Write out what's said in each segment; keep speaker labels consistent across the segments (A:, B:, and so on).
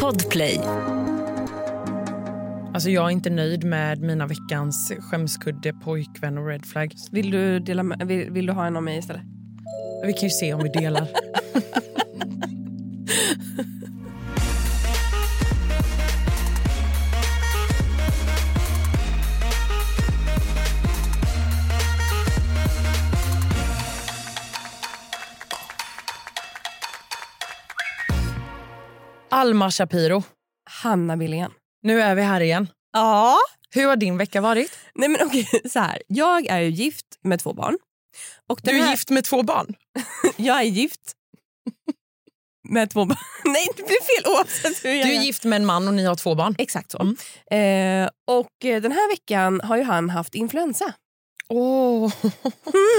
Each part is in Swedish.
A: Podplay.
B: Alltså jag är inte nöjd med mina veckans skämskudde, pojkvän och red flag.
C: Vill du, dela med, vill, vill du ha en av mig istället?
B: Vi kan ju se om vi delar. Alma Shapiro,
C: Hanna Billén.
B: nu är vi här igen.
C: Ja.
B: Hur har din vecka varit?
C: Nej men okej, så här. Jag är ju gift med två barn. Och den
B: Du är
C: här-
B: gift med två barn.
C: Jag är gift. Med två barn. Nej, det blir fel oavsett hur jag
B: Du är gift med en man och ni har två barn.
C: Exakt så.
B: Mm.
C: Eh, och eh, den här veckan har ju han haft influensa.
B: Åh.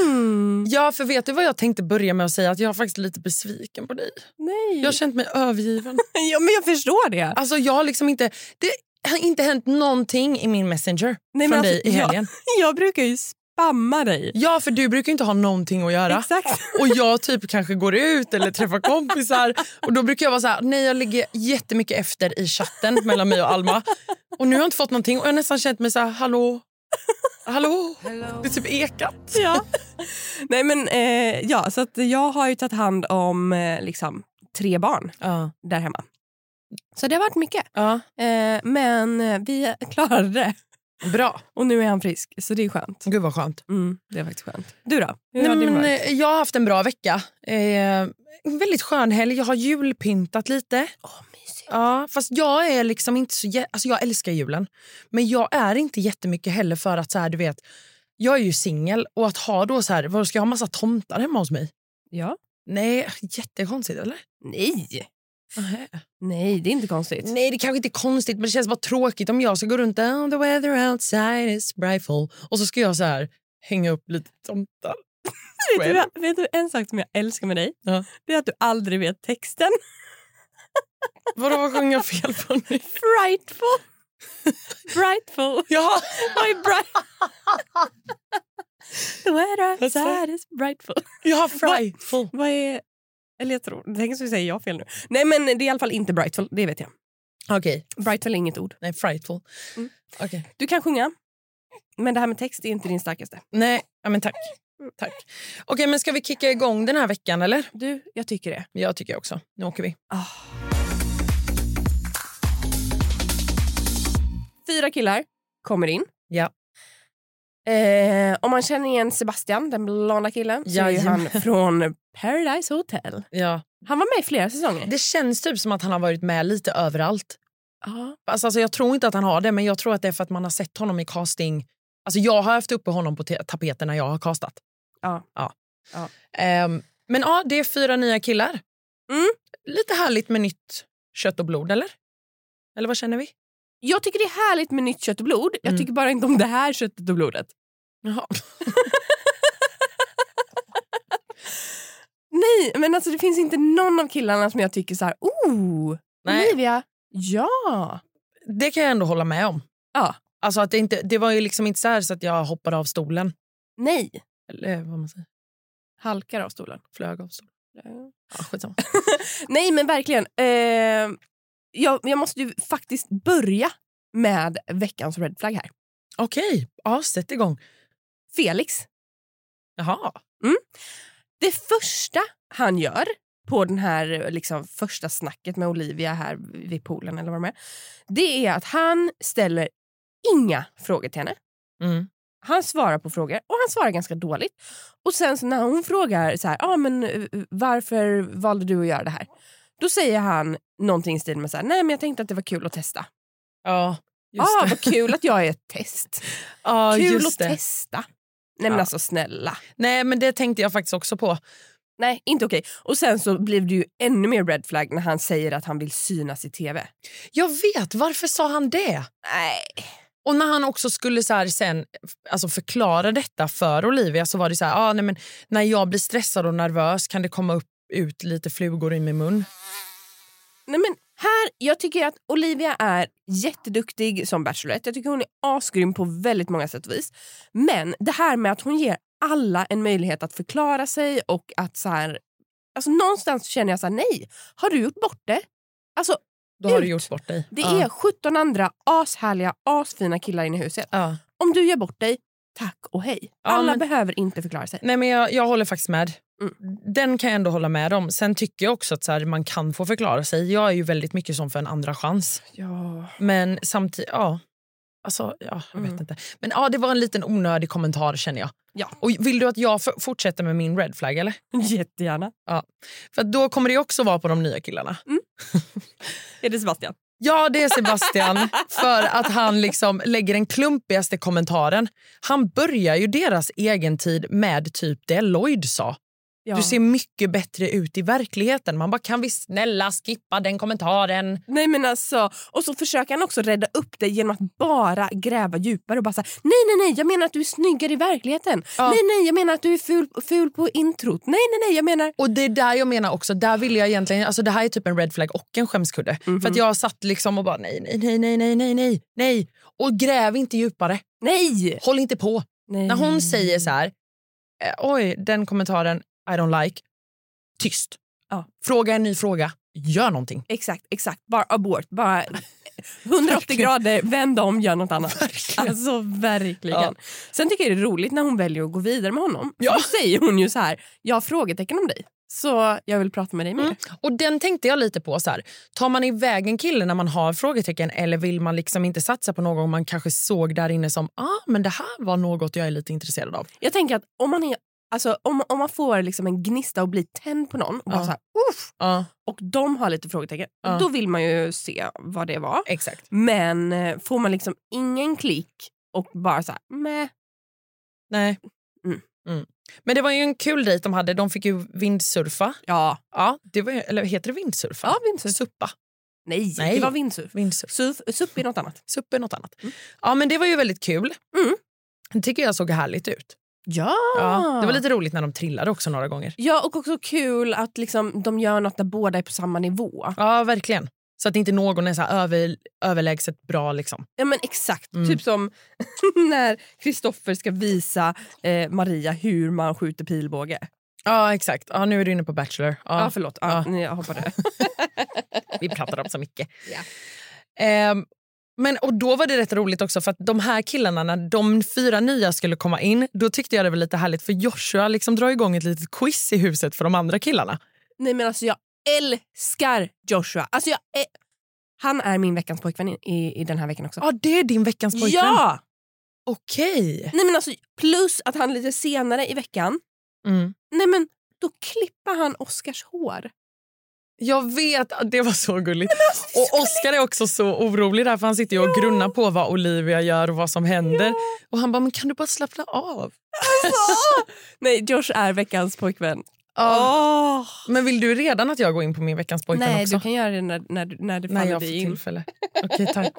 C: Mm.
B: Ja, för vet du vad jag tänkte börja med att säga? Att jag är faktiskt lite besviken på dig.
C: Nej.
B: Jag har känt mig övergiven.
C: ja, men jag förstår det.
B: Alltså jag har liksom inte... Det har inte hänt någonting i min messenger
C: Nej,
B: från
C: men
B: dig
C: alltså,
B: i
C: jag-
B: helgen.
C: Jag brukar ju spamma dig.
B: Ja, för du brukar ju inte ha någonting att göra.
C: Exakt.
B: Och jag typ kanske går ut eller träffar kompisar. Och då brukar jag vara så här, nej jag ligger jättemycket efter i chatten mellan mig och Alma. Och nu har jag inte fått någonting och jag har nästan känt mig så här, hallå? Hallå? Det är typ ekat.
C: Ja. Nej, men, eh, ja, så att jag har ju tagit hand om eh, liksom, tre barn
B: Ja.
C: där hemma. Så det har varit mycket.
B: ja.
C: Eh, men eh, vi klarade det.
B: Bra.
C: Och nu är han frisk, så det är skönt.
B: Gud vad skönt.
C: Mm, det är faktiskt skönt. Du då? Hur
B: Nej,
C: har din
B: men,
C: varit?
B: eh, jag har haft en bra vecka. Eh, en väldigt skön helg. Jag har julpyntat lite. Ja, fast jag är liksom inte så... jä- Alltså jag älskar julen, men jag är inte jättemycket heller för att så här, du vet, jag är ju singel och att ha då så här, vad ska jag ha massa tomtar hemma hos mig?
C: Ja.
B: Nej, jättekonstigt eller?
C: Nej. Nej, det är inte konstigt.
B: Nej, det kanske inte är konstigt men det känns bara tråkigt om jag ska gå runt down the weather outside is brightful och så ska jag så här hänga upp lite tomtar.
C: Vet du, vad- vet du en sak som jag älskar med dig?
B: Ja.
C: Det är att du aldrig vet texten.
B: Vadå, vad sjöng jag fel på nu?
C: Frightful. Brightful.
B: Ja.
C: Vad är bright? The weather
B: Vad sa-
C: outside is brightful.
B: Ja, frightful.
C: Vad är... Eller jag tror... Tänk så vi säger jag fel nu. Nej, men det är i alla fall inte brightful. Det vet jag.
B: Okej,
C: Brightful är inget ord.
B: nej frightful.
C: Mm.
B: Okej.
C: Du kan sjunga, men det här med text är inte din starkaste.
B: Nej, ja, men tack. tack. Okej, men ska vi kicka igång den här veckan eller?
C: Du, jag tycker det. Ah.
B: Jag tycker också. Nu åker vi.
C: Fyra killar kommer in.
B: Ja.
C: Eh, om man känner igen Sebastian, den blonda killen, så är ju han
B: Jajamän.
C: från Paradise Hotel.
B: Ja.
C: Han var med i flera säsonger.
B: Det känns typ som att han har varit med lite överallt.
C: Ja.
B: Alltså, alltså, jag tror inte att han har det, men jag tror att det är för att man har sett honom i casting. Alltså, jag har haft uppe honom på te- tapeten när jag har castat.
C: Ja.
B: ja.
C: Ja.
B: Ehm, men ja, det är fyra nya killar.
C: Mm.
B: Lite härligt med nytt kött och blod, eller? Eller vad känner vi?
C: Jag tycker det är härligt med nytt kött och blod. Jag
B: Mm.
C: tycker bara inte om det här köttet och blodet.
B: Jaha.
C: Nej, men alltså det finns inte någon av killarna som jag tycker så här, oh,
B: Nej.
C: Olivia, ja.
B: Det kan jag ändå hålla med om.
C: Ja.
B: Alltså att det, inte, det var ju liksom inte så, här så att jag hoppade av stolen.
C: Nej.
B: Eller eh, vad man säger.
C: Halkar av stolen.
B: Flög av stolen. Ja, skitsamma.
C: Nej, men verkligen. Eh, jag, jag måste ju faktiskt börja med veckans red flag här.
B: Okej, ja, sätt igång.
C: Felix,
B: Jaha.
C: det första han gör på den här liksom, första snacket med Olivia här vid poolen eller vad de är, det är att han ställer inga frågor till henne.
B: Mm.
C: Han svarar på frågor och han svarar ganska dåligt. Och sen så när hon frågar så här, ah, men eh, varför valde du att göra det här? Då säger han någonting i stil med så här, nej men jag tänkte att det var kul att testa.
B: Ja, just
C: Ah,
B: det.
C: vad kul att jag är ett test.
B: Ja,
C: kul
B: just
C: att
B: det.
C: testa. Nej men
B: Ja.
C: alltså snälla.
B: Nej, men det tänkte jag faktiskt också på.
C: Nej, inte okej. Och sen så blev det ju ännu mer red flag när han säger att han vill synas i tv.
B: Jag vet, varför sa han det?
C: Nej.
B: Och när han också skulle så här sen, alltså förklara detta för Olivia så var det så här, ah, nej, men när jag blir stressad och nervös kan det komma upp, ut lite flugor i min mun.
C: Nej men här, jag tycker att Olivia är jätteduktig som Bachelorette. Jag tycker hon är asgrym på väldigt många sätt och vis. Men det här med att hon ger alla en möjlighet att förklara sig och att så här... Alltså någonstans känner jag så här, nej, har du gjort bort det? Alltså
B: Då har du
C: ut.
B: gjort bort dig.
C: Det
B: ja.
C: är 17 andra ashärliga, asfina killar inne i huset.
B: Ja.
C: Om du gör bort dig, tack och hej.
B: Ja,
C: Alla
B: men-
C: behöver inte förklara sig.
B: Nej, men jag, jag håller faktiskt med.
C: Mm.
B: Den kan jag ändå hålla med om. Sen tycker jag också att så här, man kan få förklara sig. Jag är ju väldigt mycket som för en andra chans.
C: Ja.
B: Men samtidigt, ja. Alltså, ja, jag vet
C: Mm.
B: inte. Men ja, det var en liten onödig kommentar känner jag.
C: Ja.
B: Och vill du att jag f- fortsätter med min red flag eller?
C: Jättegärna.
B: För att då kommer det också vara på de nya killarna.
C: Mm. Är det Sebastian?
B: Ja, det är Sebastian. för att han liksom lägger den klumpigaste kommentaren. Han börjar ju deras egen tid med typ det Lloyd sa.
C: Ja.
B: Du ser mycket bättre ut i verkligheten. Man bara, kan vi snälla skippa den kommentaren?
C: Nej men alltså, och så försöker han också rädda upp det genom att bara gräva djupare och bara säga nej nej nej jag menar att du är snyggare i verkligheten.
B: Ja.
C: Nej nej jag menar att du är ful, ful på introt. Nej nej nej jag menar...
B: Och det är där jag menar också, där vill jag egentligen, alltså det här är typ en red flag och en skämskudde. För att jag satt liksom och bara nej, nej, nej, nej, nej, nej, nej, nej. Och gräv inte djupare,
C: Nej!
B: håll inte på.
C: nej!
B: När hon säger så här, eh, oj den kommentaren I don't like, tyst.
C: Ja.
B: Fråga en ny fråga, gör någonting.
C: Exakt, exakt. Bara abort. Bara 180
B: Verkligen.
C: grader, vänd om, gör något annat.
B: Verkligen.
C: Alltså verkligen.
B: Ja.
C: Sen tycker jag det är roligt när hon väljer att gå vidare med honom.
B: Ja.
C: Då säger hon ju så här, jag har frågetecken om dig. Så jag vill prata med dig mer.
B: Mm. Och den tänkte jag lite på. så här. Tar man iväg en kille när man har frågetecken eller vill man liksom inte satsa på någon man kanske såg där inne som ah, men det här var något jag är lite intresserad av?
C: Jag tänker att om man, är, alltså, om, om man får liksom en gnista och blir tänd på någon och, bara
B: Ja.
C: så här, uff,
B: Ja,
C: och de har lite frågetecken,
B: Ja.
C: då vill man ju se vad det var.
B: exakt.
C: Men eh, får man liksom ingen klick och bara så här, meh.
B: Nej.
C: Mm.
B: Mm. Men det var ju en kul dejt de hade. De fick ju vindsurfa.
C: Ja,
B: Ja, det var, eller heter det vindsurfa?
C: ja vindsurf.
B: Suppa.
C: Nej,
B: Nej.
C: det var vindsurf.
B: Vindsurf.
C: Surf, SUP är något annat.
B: Supp är något annat.
C: Mm.
B: Ja, men det var ju väldigt kul.
C: Mm.
B: Det tycker jag såg härligt ut.
C: Ja.
B: Ja, det var lite roligt när de trillade också några gånger.
C: ja, och också kul att liksom, de gör något där båda är på samma nivå.
B: Ja, verkligen. Så att inte någon är så här över, överlägset bra. Liksom.
C: Ja men exakt,
B: Mm.
C: typ som när Kristoffer ska visa eh, Maria hur man skjuter pilbåge.
B: Ja, exakt. Ja, nu är du inne på Bachelor. Ja,
C: Ja, förlåt. Ja,
B: Ja.
C: nej, Jag hoppade.
B: vi pratar om så mycket.
C: Ja.
B: Ehm, men, och då var det rätt roligt också för att de här killarna, när de fyra nya skulle komma in, då tyckte jag det var lite härligt för Joshua liksom drar igång ett litet quiz i huset för de andra killarna.
C: Nej, men alltså jag älskar Joshua. Alltså jag är... Han är min veckans pojkvän i- i, i den här veckan också.
B: Ja, ah, det är din veckans pojkvän?
C: ja!
B: Okej.
C: Nej, men alltså, plus att han lite senare i veckan,
B: Mm.
C: nej men då klipper han Oscars hår.
B: Jag vet att det var så gulligt. och Oscar är också så orolig där för han sitter ju och grunnar på vad Olivia gör och vad som händer. Och han bara, men kan du bara slappna av?
C: Alltså! nej, Josh är veckans pojkvän. Åh.
B: Men vill du redan att jag går in på min veckans pojkvän
C: Nej,
B: också?
C: du kan göra det när, när, du- när det
B: När
C: faller
B: jag får
C: dig in.
B: tillfälle. Okej, tack.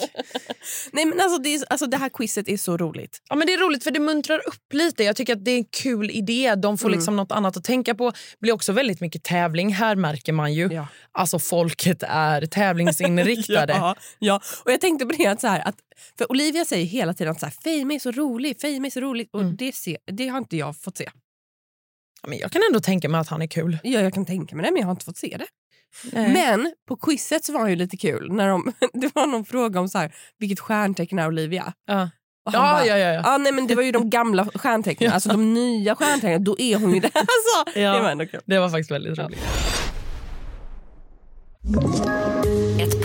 C: Nej, men alltså, det, är, alltså, det här quizet är så roligt.
B: Ja, men det är roligt för det muntrar upp lite. Jag tycker att det är en kul idé. De får
C: Mm.
B: liksom något annat att tänka på. Det blir också väldigt mycket tävling. Här märker man ju.
C: Ja.
B: Alltså folket är tävlingsinriktade.
C: Ja, ja. Och jag tänkte på det att, så här, att för Olivia säger hela tiden att så här, Fame är så rolig, Fame är så rolig. Och
B: Mm.
C: det, se, det har inte jag fått se.
B: Ja, Men jag kan ändå tänka mig att han är kul.
C: Ja, jag kan tänka mig det, men jag har inte fått se det.
B: Nej.
C: Men på quizet så var det ju lite kul. När de, det var någon fråga om så här, vilket stjärntecken är Olivia?
B: Ja.
C: Och han
B: Ja,
C: bara,
B: ja, ja, ja.
C: Ah, nej, men det var ju de gamla stjärntecknen, alltså de nya stjärntecknen. Då är hon ju det. Alltså,
B: Ja.
C: Det var ändå kul.
B: Det var faktiskt väldigt roligt.
A: Ett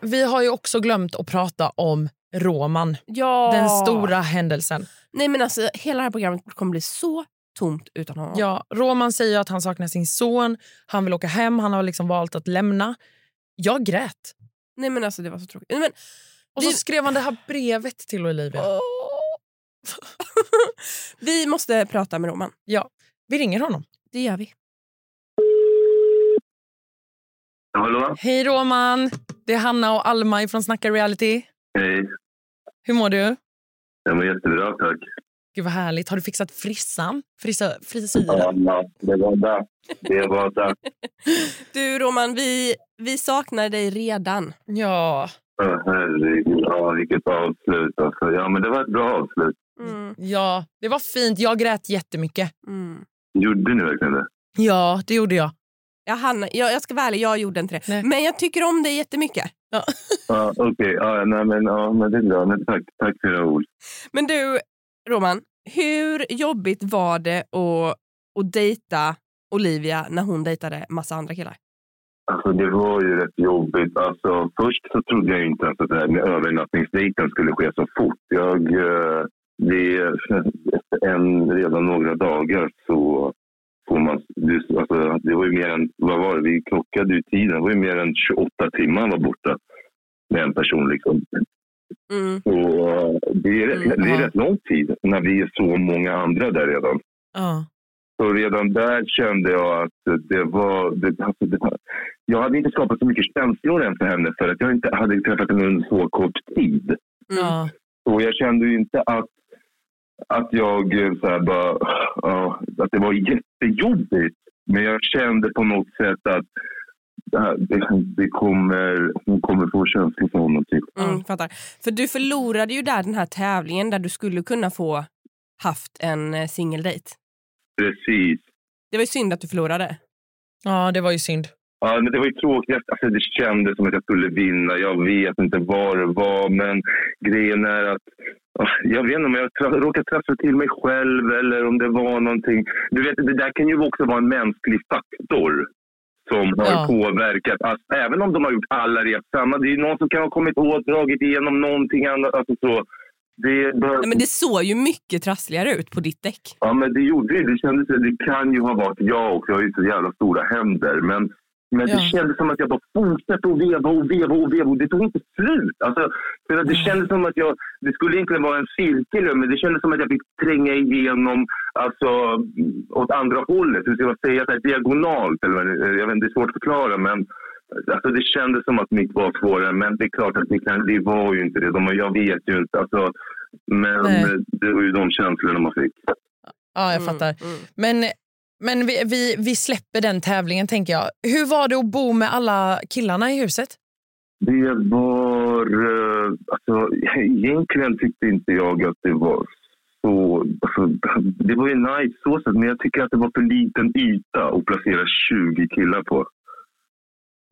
B: Vi har ju också glömt att prata om Roman,
C: Ja.
B: den stora händelsen.
C: Nej, men alltså, hela det här programmet kommer bli så tomt utan honom.
B: Ja, Roman säger ju att han saknar sin son, han vill åka hem, han har liksom valt att lämna. Jag grät.
C: Nej, men alltså, det var så tråkigt. Nej, men,
B: Och så
C: Det-
B: skrev han det här brevet till Olivia.
C: Åh. vi måste prata med Roman.
B: Ja, vi ringer honom.
C: Det gör vi.
D: hallå?
B: Hej Roman! Det är Hanna och Alma från Snacka Reality.
D: Hej.
B: Hur mår du?
D: Jag mår jättebra, tack.
B: Gud vad härligt. Har du fixat frissan? Frisör, frisyren?
D: Ja, det var dags. Det var dags.
C: Du Roman, vi, vi saknar dig redan.
B: Ja.
D: Åh, herregud, ja, vilket avslut. Alltså. Ja, men det var ett bra avslut.
C: Mm,
B: Ja, det var fint. Jag grät jättemycket.
C: mm.
D: Gjorde ni verkligen det?
B: Ja, det gjorde jag.
C: Ja, Hanna, jag, jag ska vara ärlig, jag gjorde inte det.
B: Nej.
C: Men jag tycker om dig jättemycket.
D: Ja, Okej, ja, nej, men, ja, men det är bra. Men tack, tack för era ord.
C: Men du, Roman, hur jobbigt var det att, att dejta Olivia när hon dejtade massa andra killar?
D: Alltså, det var ju rätt jobbigt. Alltså, först så trodde jag inte ens att det här med övernattningsdejten skulle ske så fort. Jag, eh, det, efter en, redan några dagar så får man... det- Alltså, det var ju mer än... Vad var det? Vi klockade ju tiden. Det var ju mer än 28 timmar han var borta med en person. Liksom.
C: Mm.
D: Så eh, det är, rätt, det är rätt lång tid när vi är så många andra där redan.
B: Ja.
D: Så redan där kände jag att det var... Det, alltså det var jag hade inte skapat så mycket känslor än för henne för att jag inte hade träffat henne under så kort tid.
C: Mm.
B: Ja.
D: Och jag kände ju inte att, att jag eh, så här, bara... ja, att det var jättejobbigt. Men jag kände på något sätt att det, här- det, det kommer, hon kommer få känslor för honom. Typ.
C: Mm, fattar. För du förlorade ju där den här tävlingen där du skulle kunna få haft en eh, singeldejt.
D: Precis.
C: Det var ju synd att du förlorade.
B: ja, det var ju synd.
D: Ja, men det var ju tråkigt. Alltså, det kändes som att jag skulle vinna. Jag vet inte vad det var, men grejen är att... ah, Jag vet inte om jag tra- råkade trassla till mig själv eller om det var någonting. Du vet, det där kan ju också vara en mänsklig faktor som har
B: Ja.
D: påverkat. Alltså, även om de har gjort alla rep samma, det är ju någon som kan ha kommit åt, dragit igenom någonting annat. Alltså, så. Det, bör...
C: Nej, men det såg ju mycket trassligare ut på ditt däck.
D: Ja, men det gjorde ju det. kändes, det kan ju ha varit jag också. Jag har ju så jävla stora händer. Men, men
B: Ja.
D: det kändes som att jag bara fortsatte att veva och veva och veva. Och det tog inte slut. Alltså, för att det kändes som att jag... Det skulle egentligen vara en cirkel, men det kändes som att jag fick tränga igenom alltså, åt andra hållet. Hur ska jag säga? Så här, diagonalt. Eller, vad det- jag vet, inte, det är svårt att förklara, men... Alltså det kändes som att mitt var svårare, men det är klart att det, kan, det var ju inte det. De, jag vet ju inte. Alltså, men
B: Nej.
D: det var ju de känslorna man fick.
B: Ja, jag fattar.
C: Mm, mm.
B: Men, men vi, vi, vi släpper den tävlingen, tänker jag. Hur var det att bo med alla killarna i huset?
D: Det var... eh, Alltså, egentligen tyckte inte jag att det var så... Alltså, det var ju nice så sett, men jag tycker att det var för liten yta att placera 20 killar på.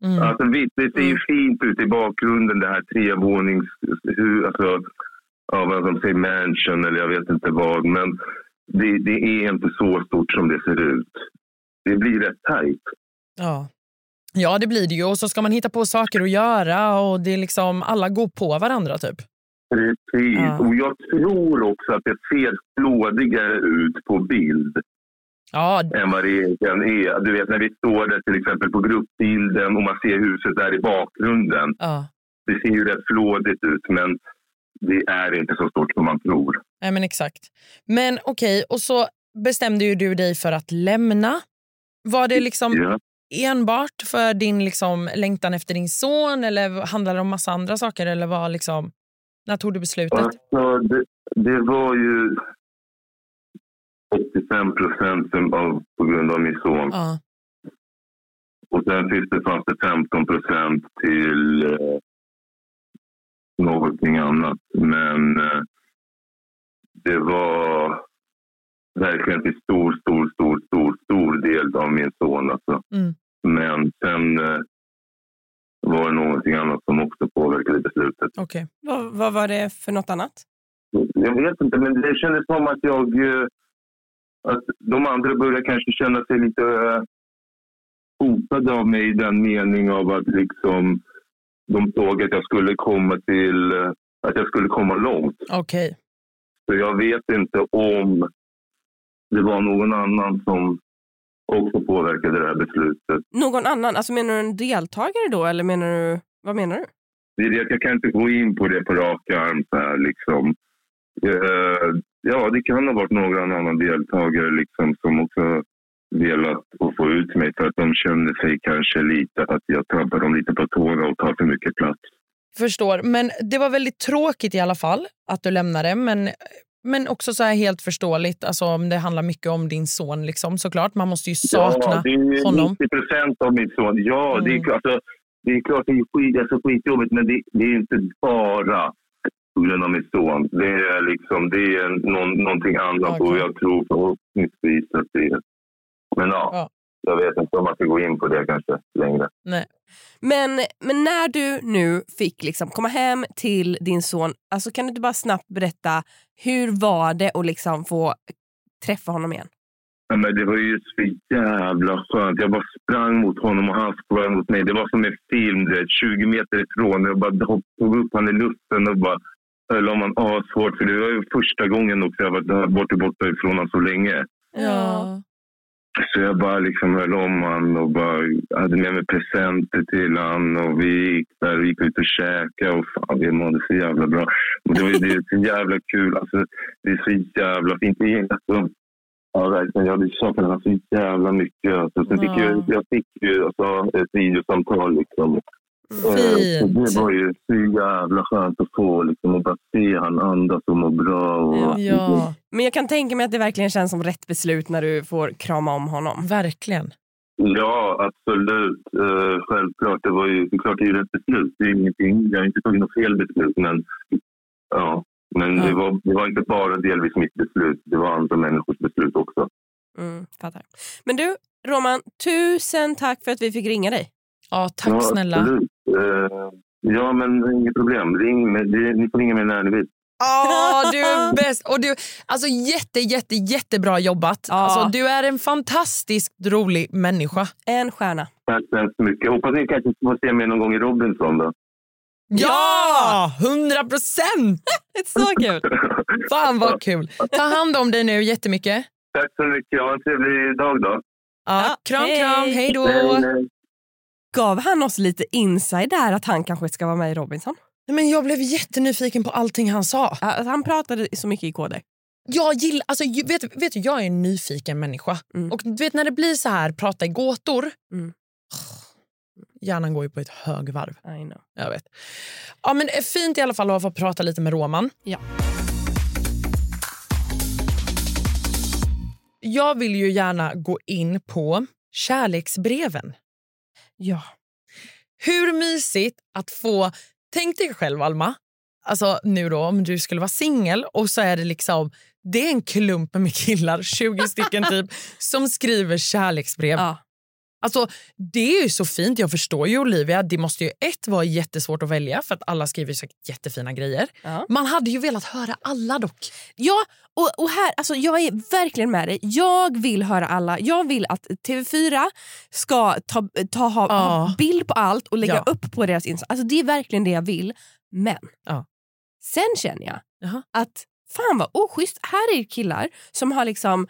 B: Mm.
D: Alltså, visst, det ser ju fint ut i bakgrunden, det här trevånings... Hur, alltså, ja, vad de säger, mansion eller jag vet inte vad. Men det, det är inte så stort som det ser ut. Det blir rätt tajt.
B: Ja. ja, det blir det ju. Och så ska man hitta på saker att göra och det är liksom alla går på varandra. typ.
D: Precis.
B: Ja.
D: Och jag tror också att det ser flådigare ut på bild
B: Ja,
D: än vad det egentligen är. Du vet när vi står där till exempel på gruppbilden och man ser huset där i bakgrunden.
B: ja.
D: Det ser ju rätt flådigt ut men det är inte så stort som man tror.
B: Nej, men exakt. Men okej, och så bestämde ju du dig för att lämna. Var det liksom
D: Ja.
B: enbart för din liksom, längtan efter din son eller handlade det om massa andra saker? Eller var liksom, när tog du beslutet?
D: Alltså, det, det var ju 85 procent på grund av min son.
B: Ja.
D: Och sen finns det, fanns det 15 procent till eh, någonting annat. Men eh, det var verkligen till stor, stor, stor, stor, stor del av min son. Alltså.
B: Mm.
D: Men sen eh, var det någonting annat som också påverkade beslutet.
B: Okej.
C: Vad, vad var det för något annat?
D: Jag vet inte, men det kändes som att jag... eh, Att de andra började kanske känna sig lite eh, hotade av mig i den mening av att liksom... De såg att jag skulle komma till... eh, Att jag skulle komma långt.
B: Okej.
D: Så jag vet inte om det var någon annan som också påverkade det här beslutet.
C: Någon annan? Alltså menar du en deltagare då? Eller menar du... Vad menar du?
D: Det är det att jag kan inte gå in på det på rak arm. Så här, liksom. Eh, ja, det kan ha varit någon annan deltagare liksom, som också velat att få ut mig för att de kände sig kanske lite att jag trampar dem lite på tårna och tar för mycket plats.
B: Förstår. Men det var väldigt tråkigt i alla fall att du lämnade. Men, men också så här helt förståeligt, alltså om det handlar mycket om din son liksom, såklart. Man måste ju sakna
D: ja, det är
B: honom.
D: 90 procent av min son. Ja, det, är,
B: Mm.
D: klart- alltså, det är klart det är skit, alltså, skitjobbigt men det, det är inte bara på grund av min son. Det är, liksom, det är en, någon, någonting annat
B: Okej.
D: och jag tror förhoppningsvis att det är... Men ja,
B: Ja.
D: jag vet inte om man ska gå in på det kanske längre.
B: Nej.
C: Men, men när du nu fick liksom komma hem till din son, alltså kan du inte bara snabbt berätta hur var det att liksom få träffa honom igen?
D: Ja, men det var ju så jävla skönt. Jag bara sprang mot honom och han sprang mot mig. Det var som en film, du vet, 20 meter ifrån. Jag bara hopp- tog upp honom i luften och bara höll om honom ashårt. För det var ju första gången också jag varit där borta, borta ifrån honom så länge.
B: Ja.
D: Så jag bara liksom höll om honom och bara hade med mig presenter till honom. Och vi gick där och gick ut och käkade och fan, vi mådde så jävla bra. Och det var ju det är så jävla kul. Alltså, det är så jävla fint. Det är, alltså, ja, verkligen. Jag hade saknat honom så jävla mycket. Alltså, sen fick
B: Ja.
D: jag, jag fick ju alltså, ett videosamtal. Liksom. Eh, Så
B: Mm. Fint.
D: det var ju så jävla skönt att få. Liksom, och bara se han andas och må bra. Och,
B: Ja,
C: Men jag kan tänka mig att det verkligen känns som rätt beslut när du får krama om honom.
B: verkligen.
D: Ja, absolut. Eh, självklart. Det var ju det är klart det är ju rätt beslut. Det är ingenting. Jag har inte tagit något fel beslut. Men, ja. men
B: Ja.
D: Det, var, det var inte bara delvis mitt beslut. Det var andra människors beslut också.
C: Mm, fattar. Men du, Roman, tusen tack för att vi fick ringa dig.
B: Ja, tack
D: ja,
B: snälla.
D: Absolut. Eh, ja, men inget problem. Ring, mig. det, ni får ringa mig när ni vill.
B: Ja, du är bäst. Och du, alltså jätte, jätte, jättebra jobbat.
C: Ja.
B: Alltså, du är en fantastiskt rolig människa.
C: En stjärna.
D: Tack så hemskt mycket. Hoppas ni kanske får se mig någon gång i Robinson. Då.
B: Ja! Hundra procent!
C: Så kul!
B: Fan vad kul. Ta hand om dig nu jättemycket.
D: Tack så mycket. Ha en trevlig dag då.
B: Ja,
C: Ja,
B: kram,
C: hej.
B: kram. Hej då.
D: Hej, hej.
C: Gav han oss lite inside där att han kanske ska vara med i Robinson?
B: Nej, Men jag blev jättenyfiken på allting han sa.
C: Ja, Att han pratade så mycket i koder.
B: Jag gillar, alltså, ju- vet, vet du, jag är en nyfiken människa.
C: Mm.
B: Och du vet när det blir så här, prata i gåtor.
C: Mm.
B: Hjärnan går ju på ett högvarv.
C: I know.
B: Jag vet. Ja, men eh, fint i alla fall att få prata lite med Roman.
C: Ja.
B: Jag vill ju gärna gå in på kärleksbreven.
C: Ja.
B: Hur mysigt att få... Tänk dig själv, Alma, alltså nu då, om du skulle vara singel och så är det liksom... Det är en klump med killar, 20 stycken typ, som skriver kärleksbrev.
C: ja.
B: Alltså, det är ju så fint. Jag förstår ju Olivia. Det måste ju ett vara jättesvårt att välja för att alla skriver säkert jättefina grejer.
C: Ja.
B: Man hade ju velat höra alla dock.
C: Ja, och, och här, alltså, jag är verkligen med dig. Jag vill höra alla. Jag vill att TV4 ska ta, ta, ha,
B: Ja.
C: ha bild på allt och lägga
B: Ja.
C: upp på deras Insta. Alltså, det är verkligen det jag vill. Men
B: Ja.
C: sen känner jag
B: Jaha.
C: att fan vad oschysst. Här är killar som har liksom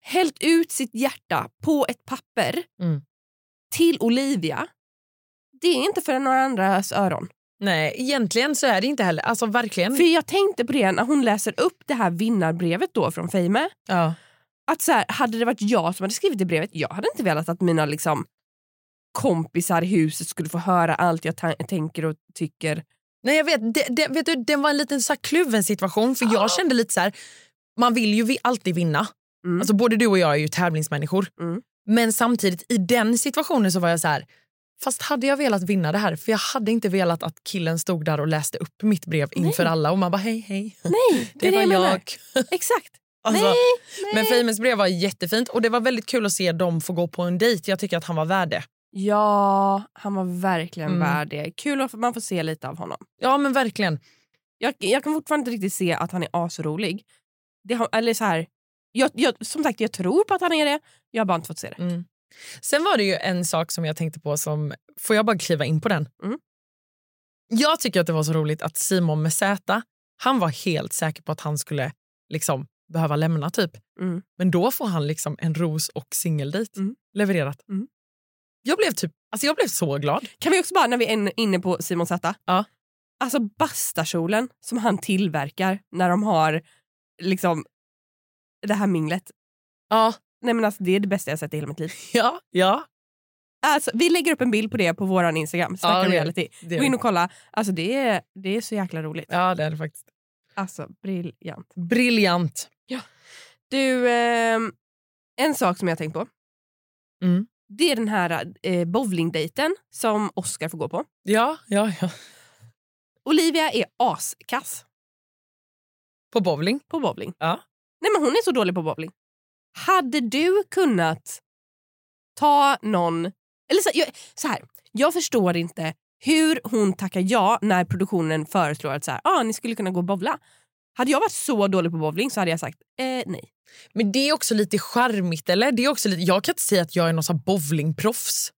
C: hällt ut sitt hjärta på ett papper
B: Mm.
C: till Olivia. Det är inte för några andras öron.
B: Nej, egentligen så är det inte heller. Alltså verkligen.
C: För jag tänkte på det när hon läser upp det här vinnarbrevet då från Fame.
B: ja.
C: att så här, hade det varit jag som hade skrivit det brevet, jag hade inte velat att mina liksom, kompisar i huset skulle få höra allt jag ta- tänker och tycker.
B: Nej, jag vet. Det, det, vet du, den var en liten så här kluven situation. För
C: Ah.
B: jag kände lite så här, man vill ju vi- alltid vinna.
C: Mm.
B: Alltså både du och jag är ju tävlingsmänniskor.
C: Mm.
B: Men samtidigt i den situationen så var jag så här, fast hade jag velat vinna det här? För jag hade inte velat att killen stod där och läste upp mitt brev inför alla och man bara hej hej.
C: Nej, det,
B: Det,
C: är det
B: var
C: jag,
B: jag.
C: menar. Exakt.
B: Alltså,
C: nej,
B: Men Famous brev var jättefint och det var väldigt kul att se dem få gå på en dejt. Jag tycker att han var värd det.
C: Ja, han var verkligen
B: Mm.
C: värd det. Kul att man får se lite av honom.
B: Ja men verkligen.
C: Jag, jag kan fortfarande inte riktigt se att han är asrolig. Det har, eller så här, jag, jag, som sagt, jag tror på att han är det. Jag har bara inte fått se det.
B: Mm. Sen var det ju en sak som jag tänkte på som... Får jag bara kliva in på den?
C: Mm.
B: Jag tycker att det var så roligt att Simon med Z, han var helt säker på att han skulle liksom behöva lämna typ.
C: Mm.
B: Men då får han liksom en ros och singeldejt
C: Mm.
B: levererat.
C: Mm.
B: Jag blev typ, alltså jag blev så glad.
C: Kan vi också bara, när vi är in- inne på Simon Zäta.
B: Ja.
C: Alltså bastakjolen som han tillverkar när de har liksom det här minglet.
B: Ja,
C: Nej, men alltså, det är det bästa jag sett i hela mitt liv.
B: Ja, ja.
C: Alltså, vi lägger upp en bild på det på vår Instagram, Snacka
B: Ja, det-
C: reality.
B: Det,
C: Gå in och kolla. Alltså, det, är, det är så jäkla roligt.
B: ja, det är det faktiskt.
C: Alltså, briljant.
B: Briljant.
C: Du, ehm, en sak som jag har tänkt på.
B: Mm.
C: Det är den här eh, bowlingdejten som Oscar får gå på.
B: Ja, ja, ja.
C: Olivia är askass
B: På bowling.
C: på bowling.
B: Ja.
C: Nej, men hon är så dålig på bowling. Hade du kunnat ta någon... Eller så, jag, så här, jag förstår inte hur hon tackar ja när produktionen föreslår att så här, ah, ni skulle kunna gå och bowla. Hade jag varit så dålig på bowling så hade jag sagt eh, nej.
B: Men det är också lite charmigt, eller? Det är också lite, jag kan inte säga att jag är någon sån här bowlingproffs.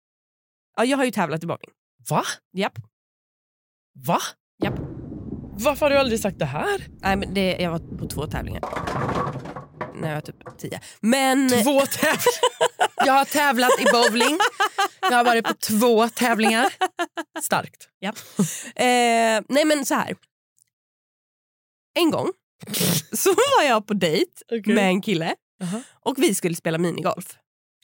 C: Ja, jag har ju tävlat i bowling.
B: Va?
C: Japp.
B: Va?
C: Japp.
B: Varför har du aldrig sagt det här?
C: Nej, men det, jag var på två tävlingar. När jag var typ tio. Men...
B: Två tävlingar. jag har tävlat i bowling. Jag har varit på två tävlingar. Starkt.
C: Eh, nej men så här. En gång så var jag på dejt
B: Okej.
C: med en kille
B: Jaha.
C: och vi skulle spela minigolf.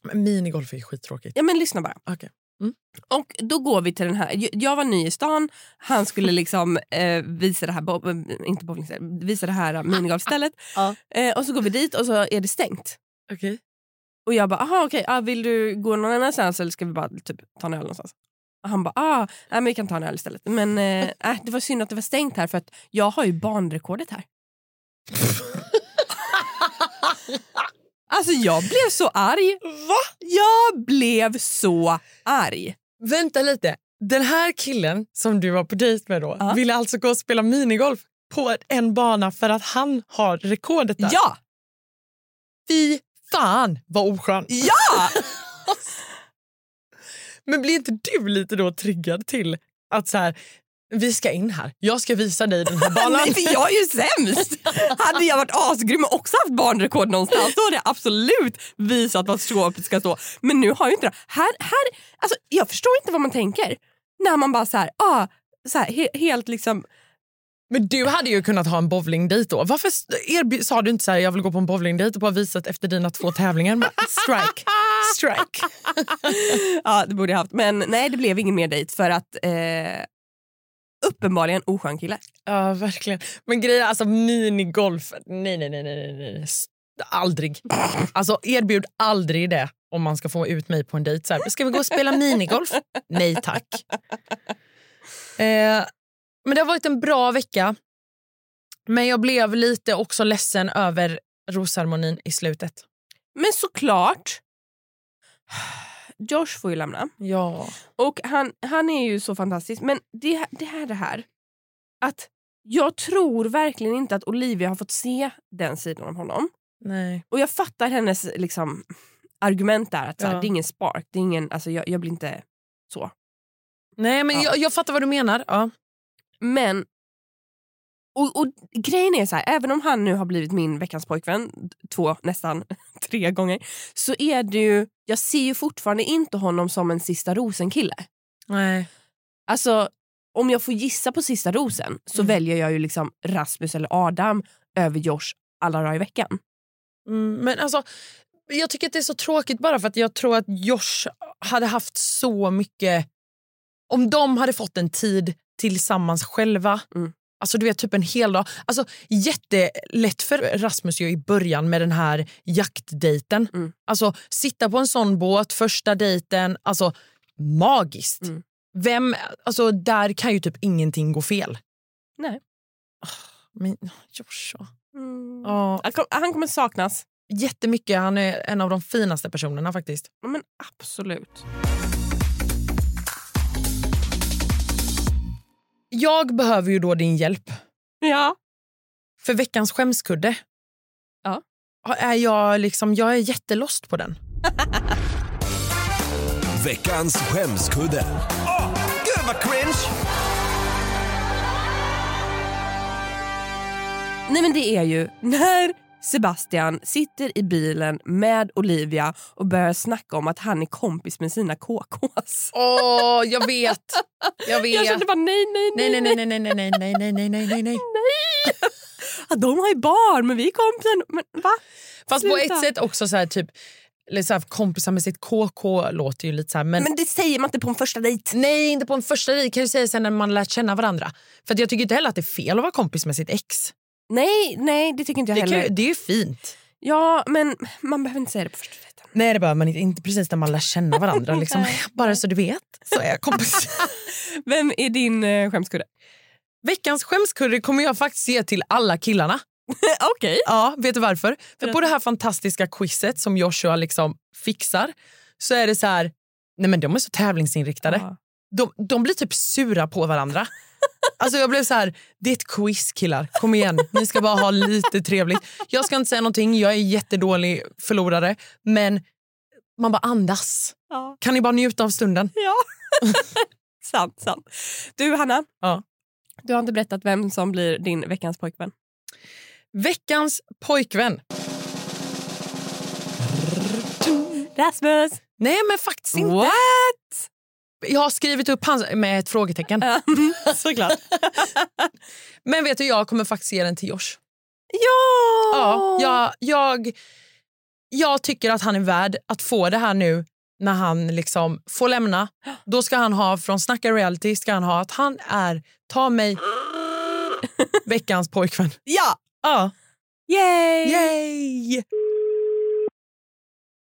B: Men minigolf är skittråkigt.
C: Ja men lyssna bara.
B: Okej. Mm.
C: Och då går vi till den här, jag- jag var ny i stan, han skulle liksom eh, visa det här, bo, eh, inte bowlingstället, visa det här minigolfstället.
B: Ja.
C: eh, och så går vi dit och så är det stängt.
B: Okej.
C: Och jag bara, aha okej, ah, vill du gå någon annanstans eller ska vi bara typ, ta en öl någonstans? Och han bara, ah, nej, men vi kan ta en öl istället. Men eh, äh, det var synd att det var stängt här för att jag har ju barnrekordet här. alltså jag blev så arg. Va? Jag blev så arg.
B: Vänta lite. Den här killen som du var på dejt med då
C: Ja.
B: ville alltså gå och spela minigolf på en bana för att han har rekordet där.
C: Ja!
B: Fy fan vad oskön.
C: Ja!
B: Men blir inte du lite då triggad till att så här, vi ska in här, jag ska visa dig den här banan.
C: Nej, för jag är ju sämst! Hade jag varit asgrym och också haft barnrekord någonstans då hade jag absolut visat vad skåpet ska stå. Men nu har jag ju inte det. Här, här, alltså, jag förstår inte vad man tänker när man bara så här, ah, så här he, helt liksom...
B: Men du hade ju kunnat ha en bowlingdejt då. Varför s- erbj- sa du inte så här, jag vill gå på en bowlingdejt och bara visat efter dina två tävlingar? Bara, strike, strike.
C: Ja, det borde jag haft. Men nej, det blev ingen mer dejt för att eh, uppenbarligen oskön kille.
B: Ja, verkligen. Men grejen, alltså minigolf, nej, nej, nej, nej, nej, nej. S- Aldrig. Alltså erbjud aldrig det om man ska få ut mig på en dejt. Så här, ska vi gå och spela minigolf? Nej tack. Eh, men det har varit en bra vecka. Men jag blev lite också ledsen över rosceremonin i slutet.
C: Men såklart, Josh får ju lämna.
B: Ja.
C: Och han, han är ju så fantastisk. Men det, det här det här. Att jag tror verkligen inte att Olivia har fått se den sidan av honom.
B: Nej.
C: Och jag fattar hennes liksom, argument där. Att så här,
B: Ja.
C: Det är ingen spark. Det är ingen, alltså, jag, jag blir inte så.
B: Nej, men
C: Ja.
B: jag, jag fattar vad du menar. Ja.
C: Men... Och, och grejen är så här, även om han nu har blivit min veckans pojkvän två, nästan tre gånger så är det ju, jag ser ju fortfarande inte honom som en sista rosen-kille.
B: Nej.
C: Alltså, om jag får gissa på sista rosen så
B: Mm.
C: väljer jag ju liksom Rasmus eller Adam över Josh alla dagar i veckan.
B: Mm, men alltså, jag tycker att det är så tråkigt bara för att jag tror att Josh hade haft så mycket... Om de hade fått en tid tillsammans själva,
C: Mm.
B: alltså du vet typ en hel dag. Alltså jättelätt för Rasmus ju i början med den här jaktdejten.
C: Mm.
B: Alltså sitta på en sån båt, första dejten, alltså magiskt.
C: Mm.
B: Vem, alltså där kan ju typ ingenting gå fel.
C: Nej.
B: Ah, Men Josh, ja.
C: Ja.
B: Ja,
C: Han kom- Han kommer saknas.
B: jättemycket. Han är en av de finaste personerna faktiskt.
C: Ja, Men absolut.
B: Jag behöver ju då din hjälp.
C: Ja.
B: För veckans skämskudde.
C: Ja.
B: Är jag, liksom, jag är jättelost på den.
E: Veckans skämskudde. Åh, gud vad cringe!
C: Nej men det är ju när Sebastian sitter i bilen med Olivia och börjar snacka om att han är kompis med sina KKs.
B: Åh, jag vet. Jag vet.
C: Jag kände bara nej, nej, nej.
B: Nej, nej, nej, nej, nej, nej, nej, nej, nej, nej, nej, nej.
C: Ja, de har ju barn men vi är kompisar. Men va?
B: Fast på
C: Sluta.
B: ett sätt också så här, typ, Eller så här, kompisar med sitt KK låter ju lite så här, men,
C: Men det säger man inte på en första dejt.
B: nej inte på en första dejt kan ju säga sen när man lärt känna varandra. För att jag tycker inte heller att det är fel att vara kompis med sitt ex.
C: Nej, nej det tycker inte jag
B: Det,
C: heller.
B: kan, ju- det är ju fint.
C: Ja, men man behöver inte säga det på första dejten.
B: Nej det behöver man inte, inte precis när man lär känna varandra. Liksom. Bara så du vet så är jag kompis.
C: Vem är din eh, skämskudde?
B: Veckans skämskudde kommer jag faktiskt ge till alla killarna.
C: Okej.
B: Ja, vet du varför? För
C: Berätta.
B: på det här fantastiska quizet som Joshua liksom fixar så är det så här, nej men de är så tävlingsinriktade.
C: Ja.
B: De, de blir typ sura på varandra. Alltså jag blev så här, det är ett quiz killar, kom igen, ni ska bara ha lite trevligt. Jag ska inte säga någonting, jag är jättedålig förlorare, men man bara andas.
C: Ja.
B: Kan ni bara njuta av stunden?
C: Ja. sant, sant. Du, Hanna.
B: Ja.
C: Du har inte berättat vem som blir din veckans pojkvän.
B: Veckans pojkvän.
C: Rasmus!
B: Nej men faktiskt inte.
C: What?
B: Jag har skrivit upp hans med ett frågetecken.
C: Såklart.
B: Men vet du, jag kommer faktiskt ge den till Josh.
C: Ja!
B: Ja, jag, jag, jag tycker att han är värd att få det här nu när han liksom får lämna. Då ska han ha, från Snacka reality, ska han ha att han är, ta mig, veckans pojkvän.
C: ja.
B: Ja.
C: Yay!
B: Yay!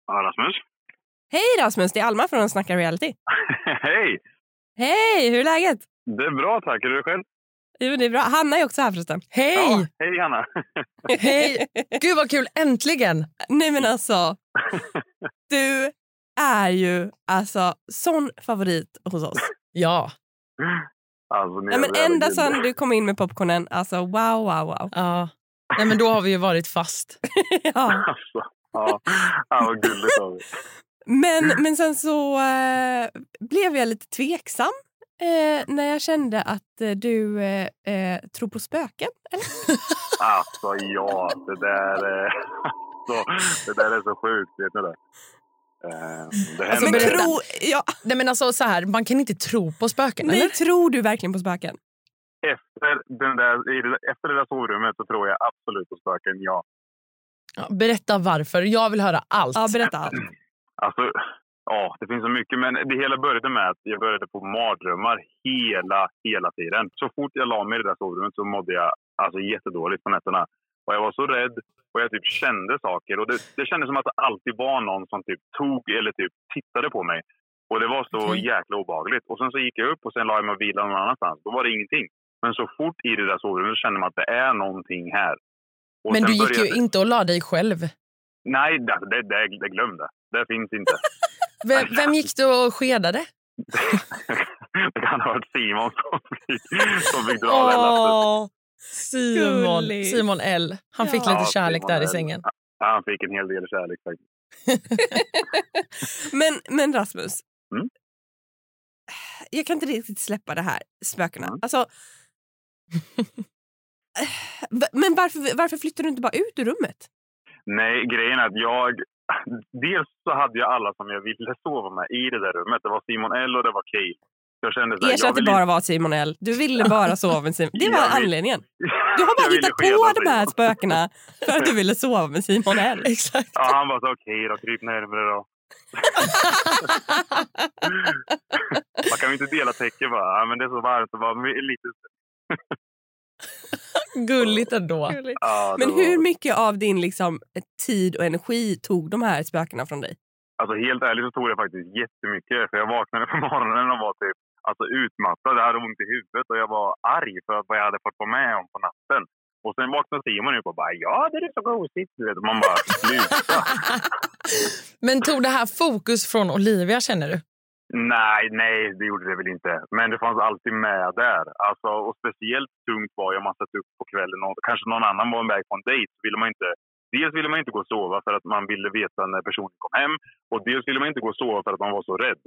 F: Ja, Rasmus.
C: Hej Rasmus, det är Alma från Snacka Reality.
F: Hej!
C: Hej, hur är läget?
F: Det är bra, tack. Är du själv?
C: Jo, det är bra. Hanna är också här förresten.
B: Hej!
F: Ja, hej, Hanna.
B: Hej! Gud vad kul, äntligen!
C: Nej men alltså, du är ju alltså sån favorit hos oss.
B: Ja.
F: Alltså, ni
C: Nej, men
F: är
C: ända
F: herregud.
C: sedan du kom in med popcornen, alltså wow, wow, wow.
B: ja. Nej, men då har vi ju varit fast.
C: Ja.
F: Alltså, ja. ja, vad gulligt av er.
C: Men, men sen så eh, blev jag lite tveksam eh, när jag kände att eh, du eh, eh, tror på spöken.
F: Alltså, ja. Det där, eh, alltså, det där är så sjukt. Vet ni det? Eh, det
B: Alltså,
F: händer-
C: men
B: berätta.
C: tro, ja,
B: Nej, men alltså, så här, man kan inte tro på spöken,
C: nej,
B: eller?
C: tror du verkligen på spöken?
F: efter, den där, i det- efter det där sovrummet så tror jag absolut på spöken, ja.
B: Ja, berätta varför. Jag vill höra allt.
C: Ja, berätta allt.
F: Alltså, ja, det finns så mycket. Men det hela började med att jag började få mardrömmar hela, hela tiden. Så fort jag la mig i det där sovrummet så mådde jag alltså, jättedåligt på nätterna. Och jag var så rädd och jag typ kände saker. Och det, det kändes som att det alltid var någon som typ tog eller typ tittade på mig. Och det var så
B: Okej.
F: jäkla obehagligt. Och sen så gick jag upp och sen la jag mig och vilade någon annanstans. Då var det ingenting. Men så fort i det där sovrummet så kände man att det är någonting här. Och
B: men
F: sen
B: du gick
F: började-
B: ju inte och la dig själv.
F: Nej, det, det, det, det glömde. Det finns inte.
B: Vem, vem gick du och skedade?
F: Det kan ha varit Simon som fick, som fick dra det lasset.
B: Simon,
C: Gulligt.
B: Simon L. Han fick
C: Ja,
B: lite kärlek
F: Simon
B: där i
F: L.
B: sängen.
F: Han fick en hel del kärlek faktiskt.
C: Men, men Rasmus,
F: Mm.
C: jag kan inte riktigt släppa det här spökena.
F: Mm.
C: Alltså, Va- men varför, varför flyttar du inte bara ut ur rummet?
F: Nej, grejen är att jag... Dels så hade jag alla som jag ville sova med i det där rummet. Det var Simon L och det var Kay. Jag kände så här,
C: Erkänn
F: jag
C: att det
F: vill
C: bara var Simon L. Du ville bara sova med Simon. Det var
F: Jag vill-
C: anledningen.
F: inte-
C: Du har
F: jag
C: bara
F: ville
C: hittat
F: skeda
C: på de här
F: Simon.
C: spökena för att du ville sova med Simon L.
B: Exakt.
F: Ja, han bara så okej då, kryp närmare då. Man kan ju inte dela täcken bara. Ja, men det är så varmt. Det var lite...
B: Gulligt ändå.
F: Ja, det
C: Men
F: var...
C: hur mycket av din liksom, tid och energi tog de här spökena från dig?
F: Alltså helt ärligt så tog det faktiskt jättemycket. För jag vaknade på morgonen och var typ alltså, utmattad. Jag hade ont i huvudet och jag var arg för att vad jag hade fått vara med om på natten. Och sen vaknade Simon upp och bara ja, det är så gosigt. Du vet. Och Man bara sluta.
B: Men tog det här fokus från Olivia, känner du?
F: nej, nej, det gjorde det väl inte. Men det fanns alltid med där. Alltså, och speciellt tungt var ju om man satt upp på kvällen och kanske någon annan var iväg på en dejt. så Ville man inte, dels ville man inte gå och sova för att man ville veta när personen kom hem. Och dels ville man inte gå och sova för att man var så rädd.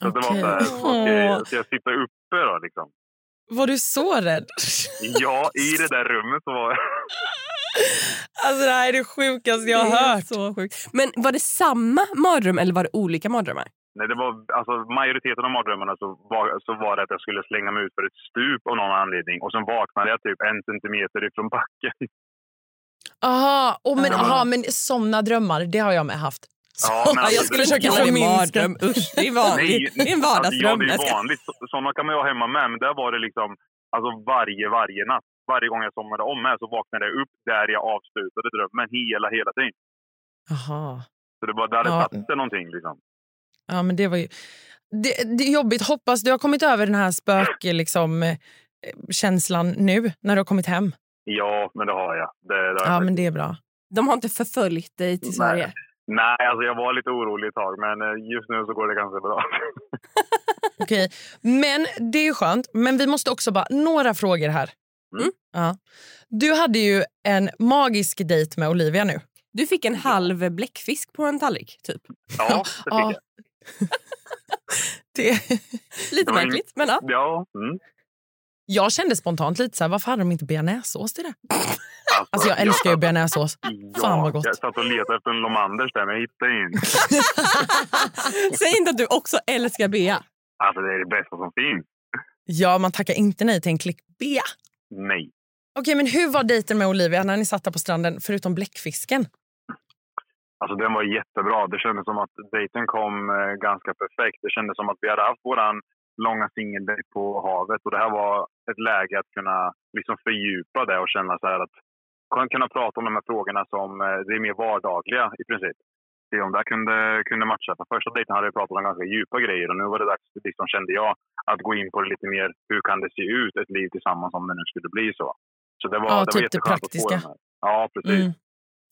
F: Så det var
B: Okej.
F: så här, okej, ska jag sitta uppe då liksom?
B: Var du så rädd?
F: Ja, i det där rummet så var jag...
B: Alltså, det här är det sjukaste jag
C: Det
B: har
C: är
B: hört.
C: Så sjukt. Men var det samma mardröm eller var det olika mardrömmar?
F: Nej, det var, alltså, majoriteten av mardrömmarna så var, så var det att jag skulle slänga mig ut för ett stup av någon anledning. Och sen vaknade jag typ en centimeter ifrån backen.
B: Aha, oh, men, aha, men såna drömmar, det har jag med haft.
F: Ja, men
B: Såna,
F: alltså,
B: jag skulle
F: det-
B: försöka
F: jag-
B: förminska.
C: Usch, det är
F: Nej, alltså,
C: vanligt. Det är en
F: ja,
C: vardagsdröm.
F: det är
C: Jag
F: ju
C: ska-
F: vanligt. Så- Såna kan man ju ha hemma med. Men där var det liksom alltså varje, varje natt. Varje gång jag somnade om här så vaknade jag upp där jag avslutade drömmen hela, hela tiden.
B: Aha.
F: Så det var där det
B: Ja.
F: satte någonting liksom.
B: Ja, men det var ju... Det, det är jobbigt. Hoppas du har kommit över den här spök, liksom, eh, känslan nu när du har kommit hem.
F: Ja, men det har jag. Det, det har jag
B: Ja, men det är bra.
C: De har inte förföljt dig till
F: Nej.
C: Sverige.
F: Nej, alltså jag var lite orolig ett tag, men eh, just nu så går det ganska bra.
B: Okej. Men det är ju skönt. Men vi måste också bara... Några frågor här.
F: Mm.
B: Ja. Du hade ju en magisk dejt med Olivia nu.
C: Du fick en halv bläckfisk på en tallrik, typ.
F: Ja, det tycker jag.
B: Det,
C: Lite
F: Det var ju-
C: märkligt, men ja.
F: Ja, mm.
B: jag kände spontant lite så här, varför hade de inte bearnaisesås till det?
F: alltså,
B: Alltså jag älskar ju bearnaisesås.
F: Ja,
B: Fan, vad gott.
F: Jag satt och letade efter en Lomanders där, men jag hittade ju inte.
C: Säg inte att du också älskar Bea.
F: Alltså det är det bästa som finns.
B: Ja, man tackar inte nej till en klick B.
F: Nej.
B: Okej, men hur var dejten med Olivia när ni satt där på stranden, förutom bläckfisken?
F: Alltså den var jättebra. Det kändes som att dejten kom eh, ganska perfekt. Det kändes som att vi hade haft våran långa singeldejt på havet och det här var ett läge att kunna liksom fördjupa det och känna så här att kun- kunna prata om de här frågorna som eh, det är mer vardagliga i princip. Se om det här kunde, kunde matcha. På första dejten hade vi pratat om ganska djupa grejer och nu var det dags, liksom, kände jag, att gå in på det lite mer hur kan det se ut ett liv tillsammans om det nu skulle bli så. Så det var,
B: Ja,
F: det var
B: typ det
F: jätteskönt att få
B: praktiska.
F: de här. Ja, precis.
B: Mm.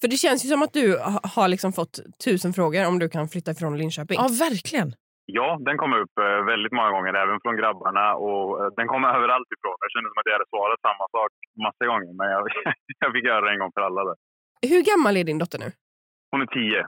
C: För det känns ju som att du ha- har liksom fått tusen frågor om du kan flytta från Linköping.
B: Ja, verkligen.
F: Ja, den kom upp eh, väldigt många gånger, även från grabbarna. Och eh, den kom överallt ifrån. Jag kände som att jag hade svarat samma sak massa gånger, men jag, jag fick göra det en gång för alla. Där.
C: Hur gammal är din dotter nu?
F: Hon är tio.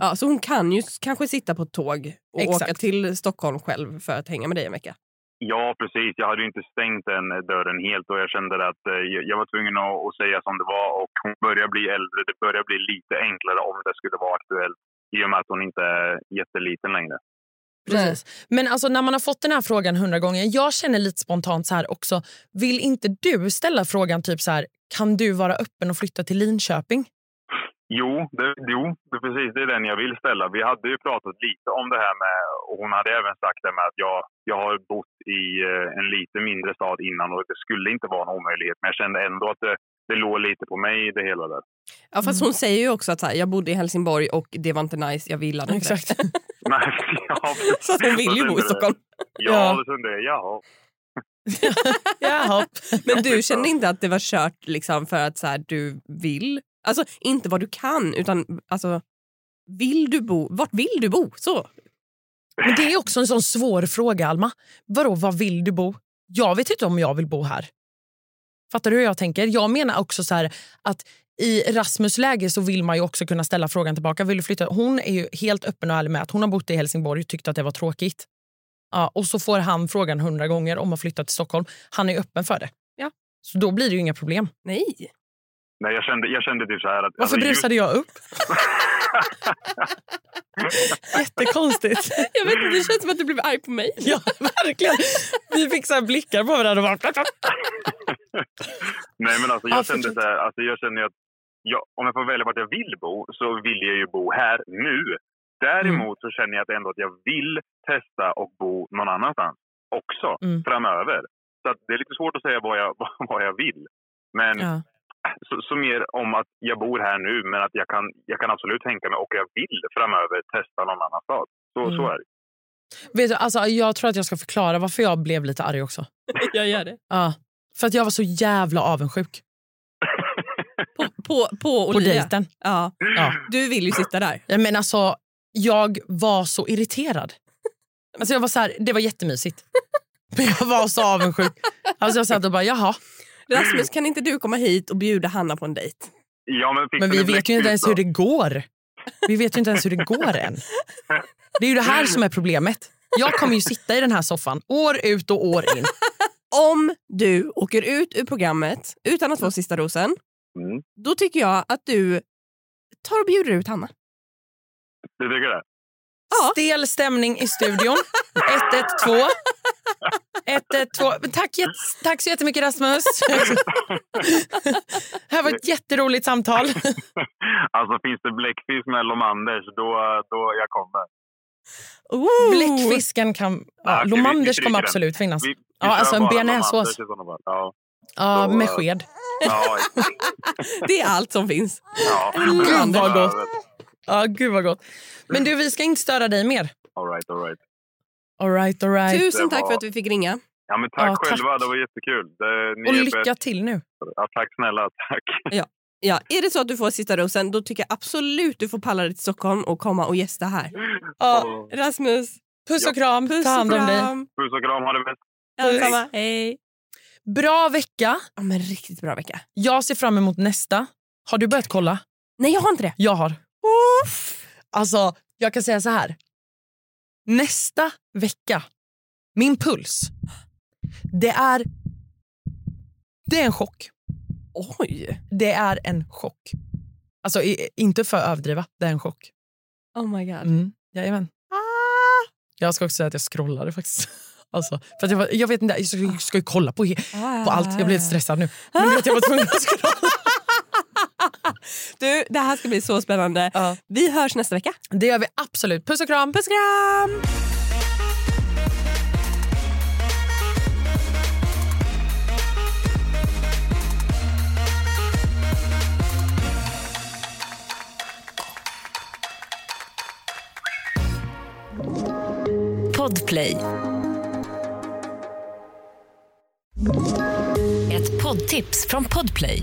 C: Ja, så hon kan ju s- kanske sitta på ett tåg och
B: Exakt.
C: åka till Stockholm själv för att hänga med dig en vecka.
F: Ja, precis. Jag hade ju inte stängt den eh, dörren helt och jag kände att eh, jag- jag var tvungen att, att säga som det var. Och hon börjar bli äldre. Det börjar bli lite enklare om det skulle vara aktuellt i och med att hon inte är jätteliten längre.
B: Precis. Men alltså, när man har fått den här frågan hundra gånger, jag känner lite spontant så här också, vill inte du ställa frågan typ så här, kan du vara öppen och flytta till Linköping?
F: Jo, det, jo det, är precis det är den jag vill ställa. Vi hade ju pratat lite om det här med, och hon hade även sagt det med att jag, jag har bott i eh, en lite mindre stad innan och det skulle inte vara en omöjlighet. Men jag kände ändå att det, det låg lite på mig det hela där.
C: Ja, fast hon säger ju också att så här, jag bodde i Helsingborg och det var inte nice, jag ville inte.
F: Nej, ja,
C: Så att hon vill ju bo i Stockholm.
F: Ja, det kände jag. Jaha.
B: Jaha.
C: Men du kände inte att det var kört liksom för att så här, du vill? Alltså inte vad du kan utan alltså vill du bo? Vart vill du bo? Så.
B: Men det är också en sån svår fråga, Alma. Vadå, var vill du bo? Jag vet inte om jag vill bo här. Fattar du hur jag tänker? Jag menar också så här att i Rasmus läge så vill man ju också kunna ställa frågan tillbaka. Vill du flytta? Hon är ju helt öppen och ärlig med att hon har bott i Helsingborg och tyckte att det var tråkigt. Ja, och så får han frågan hundra gånger om att flytta till Stockholm. Han är ju öppen för det.
C: Ja.
B: Så då blir det ju inga problem.
C: Nej.
F: Nej, jag kände, jag kände typ så här att...
B: Varför
F: alltså, just-
B: brusade jag upp? Jättekonstigt.
C: Jag vet inte, det känns som att du blev arg på mig.
B: Ja, verkligen. Vi fick så här blickar på varandra. Och bara...
F: Nej, men alltså,
B: Ja,
F: jag, kände
B: fortsätt.
F: så här, alltså, jag känner ju att jag, om jag får välja vart jag vill bo så vill jag ju bo här
B: Mm.
F: nu. Däremot så känner jag att ändå att jag vill testa och bo någon annanstans också
B: Mm.
F: framöver. Så att det är lite svårt att säga vad jag, vad jag vill. Men
B: Ja.
F: så, så mer om att jag bor här nu men att jag kan, jag kan absolut tänka mig och jag vill framöver testa någon annan stad. Så,
B: Mm.
F: så är det.
B: Vet du, alltså, jag tror att jag ska förklara varför jag blev lite arg också.
C: Jag gör det.
B: Ja. För att jag var så jävla avundsjuk
C: På, på, på
B: på
C: Olivia.
B: dejten.
C: Ja.
B: Ja.
C: Du vill ju sitta där.
B: Jag menar alltså, jag var så irriterad. Alltså, jag var så här, det var jättemysigt. Men jag var så avundsjuk. Alltså, jag satt och bara, jaha.
C: Rasmus, kan inte du komma hit och bjuda Hanna på en dejt?
F: Ja, men fick
B: Men
F: du
B: vi
F: en
B: vet ju inte ens
F: bläckfisk
B: hur
F: då?
B: det går. Vi vet ju inte ens hur det går än. Det är ju det här som är problemet. Jag kommer ju sitta i den här soffan år ut och år in.
C: Om du åker ut ur programmet utan att få sista rosen,
F: Mm.
C: då tycker jag att du tar och bjuder ut Hanna.
F: Du tycker det?
C: Ja.
B: Stel stämning i studion. 112. Ett, ett, två. Men Tack, jätt- tack så jättemycket Rasmus. det här var ett jätteroligt samtal.
F: Alltså finns det bläckfisk med Lomanders, då, då jag kommer.
C: Ooh.
B: Bläckfisken kan...
F: Ja,
B: Ja,
F: okej, vi- vi
B: Lomanders
F: stryker
B: kommer
F: den.
B: absolut finnas.
F: Vi, vi
B: Ja,
F: kör
B: alltså en
F: bara
B: bearnaisesås.
F: Lomanders i sådana fall. Ja,
B: Ja,
F: då-
B: med sked.
F: ja,
C: Det är allt som finns.
F: ja. eh,
B: Gud, vad gott. Ja, gud vad gott. Men du, vi ska inte störa dig mer.
F: All right, all right.
B: All right, all right.
C: Tusen
F: det
C: tack
F: var-
C: för att vi fick ringa.
F: Ja, men tack
B: Ja, tack.
F: själva, det var jättekul. Det, ni
B: Och
F: är
B: lycka
F: bäst.
B: till nu.
F: Ja, tack snälla, tack.
C: Ja, är det så att du får sista rosen, då tycker jag absolut du får palla dig till Stockholm och komma och gästa här.
B: Ja.
C: Rasmus,
B: Puss och kram.
C: puss
B: Ta hand om
C: och
B: dig.
C: kram.
F: Puss och kram, ha det bäst.
C: Ja, detsamma. Hej.
B: Bra vecka.
C: Ja, men riktigt bra vecka.
B: Jag ser fram emot nästa. Har du börjat kolla?
C: Nej, jag har inte det.
B: Jag har. Alltså, jag kan säga så här. Nästa vecka, min puls, det är... Det är en chock.
C: Oj!
B: Det är en chock. Alltså, i- inte för att överdriva, det är en chock. Ah!
C: Oh my god.
B: Mm, jajamän. Jag ska också säga att jag scrollade faktiskt. Alltså, för att jag, var- jag vet inte, jag ska, jag ska ju kolla på, he- på allt. Jag blev lite stressad nu. Men du vet, jag var tvungen att scrolla.
C: Du, det här ska bli så spännande.
B: Ja.
C: Vi hörs nästa vecka.
B: Det gör vi absolut. Puss och kram!
C: Puss och kram!
A: Podplay. Ett poddtips från Podplay.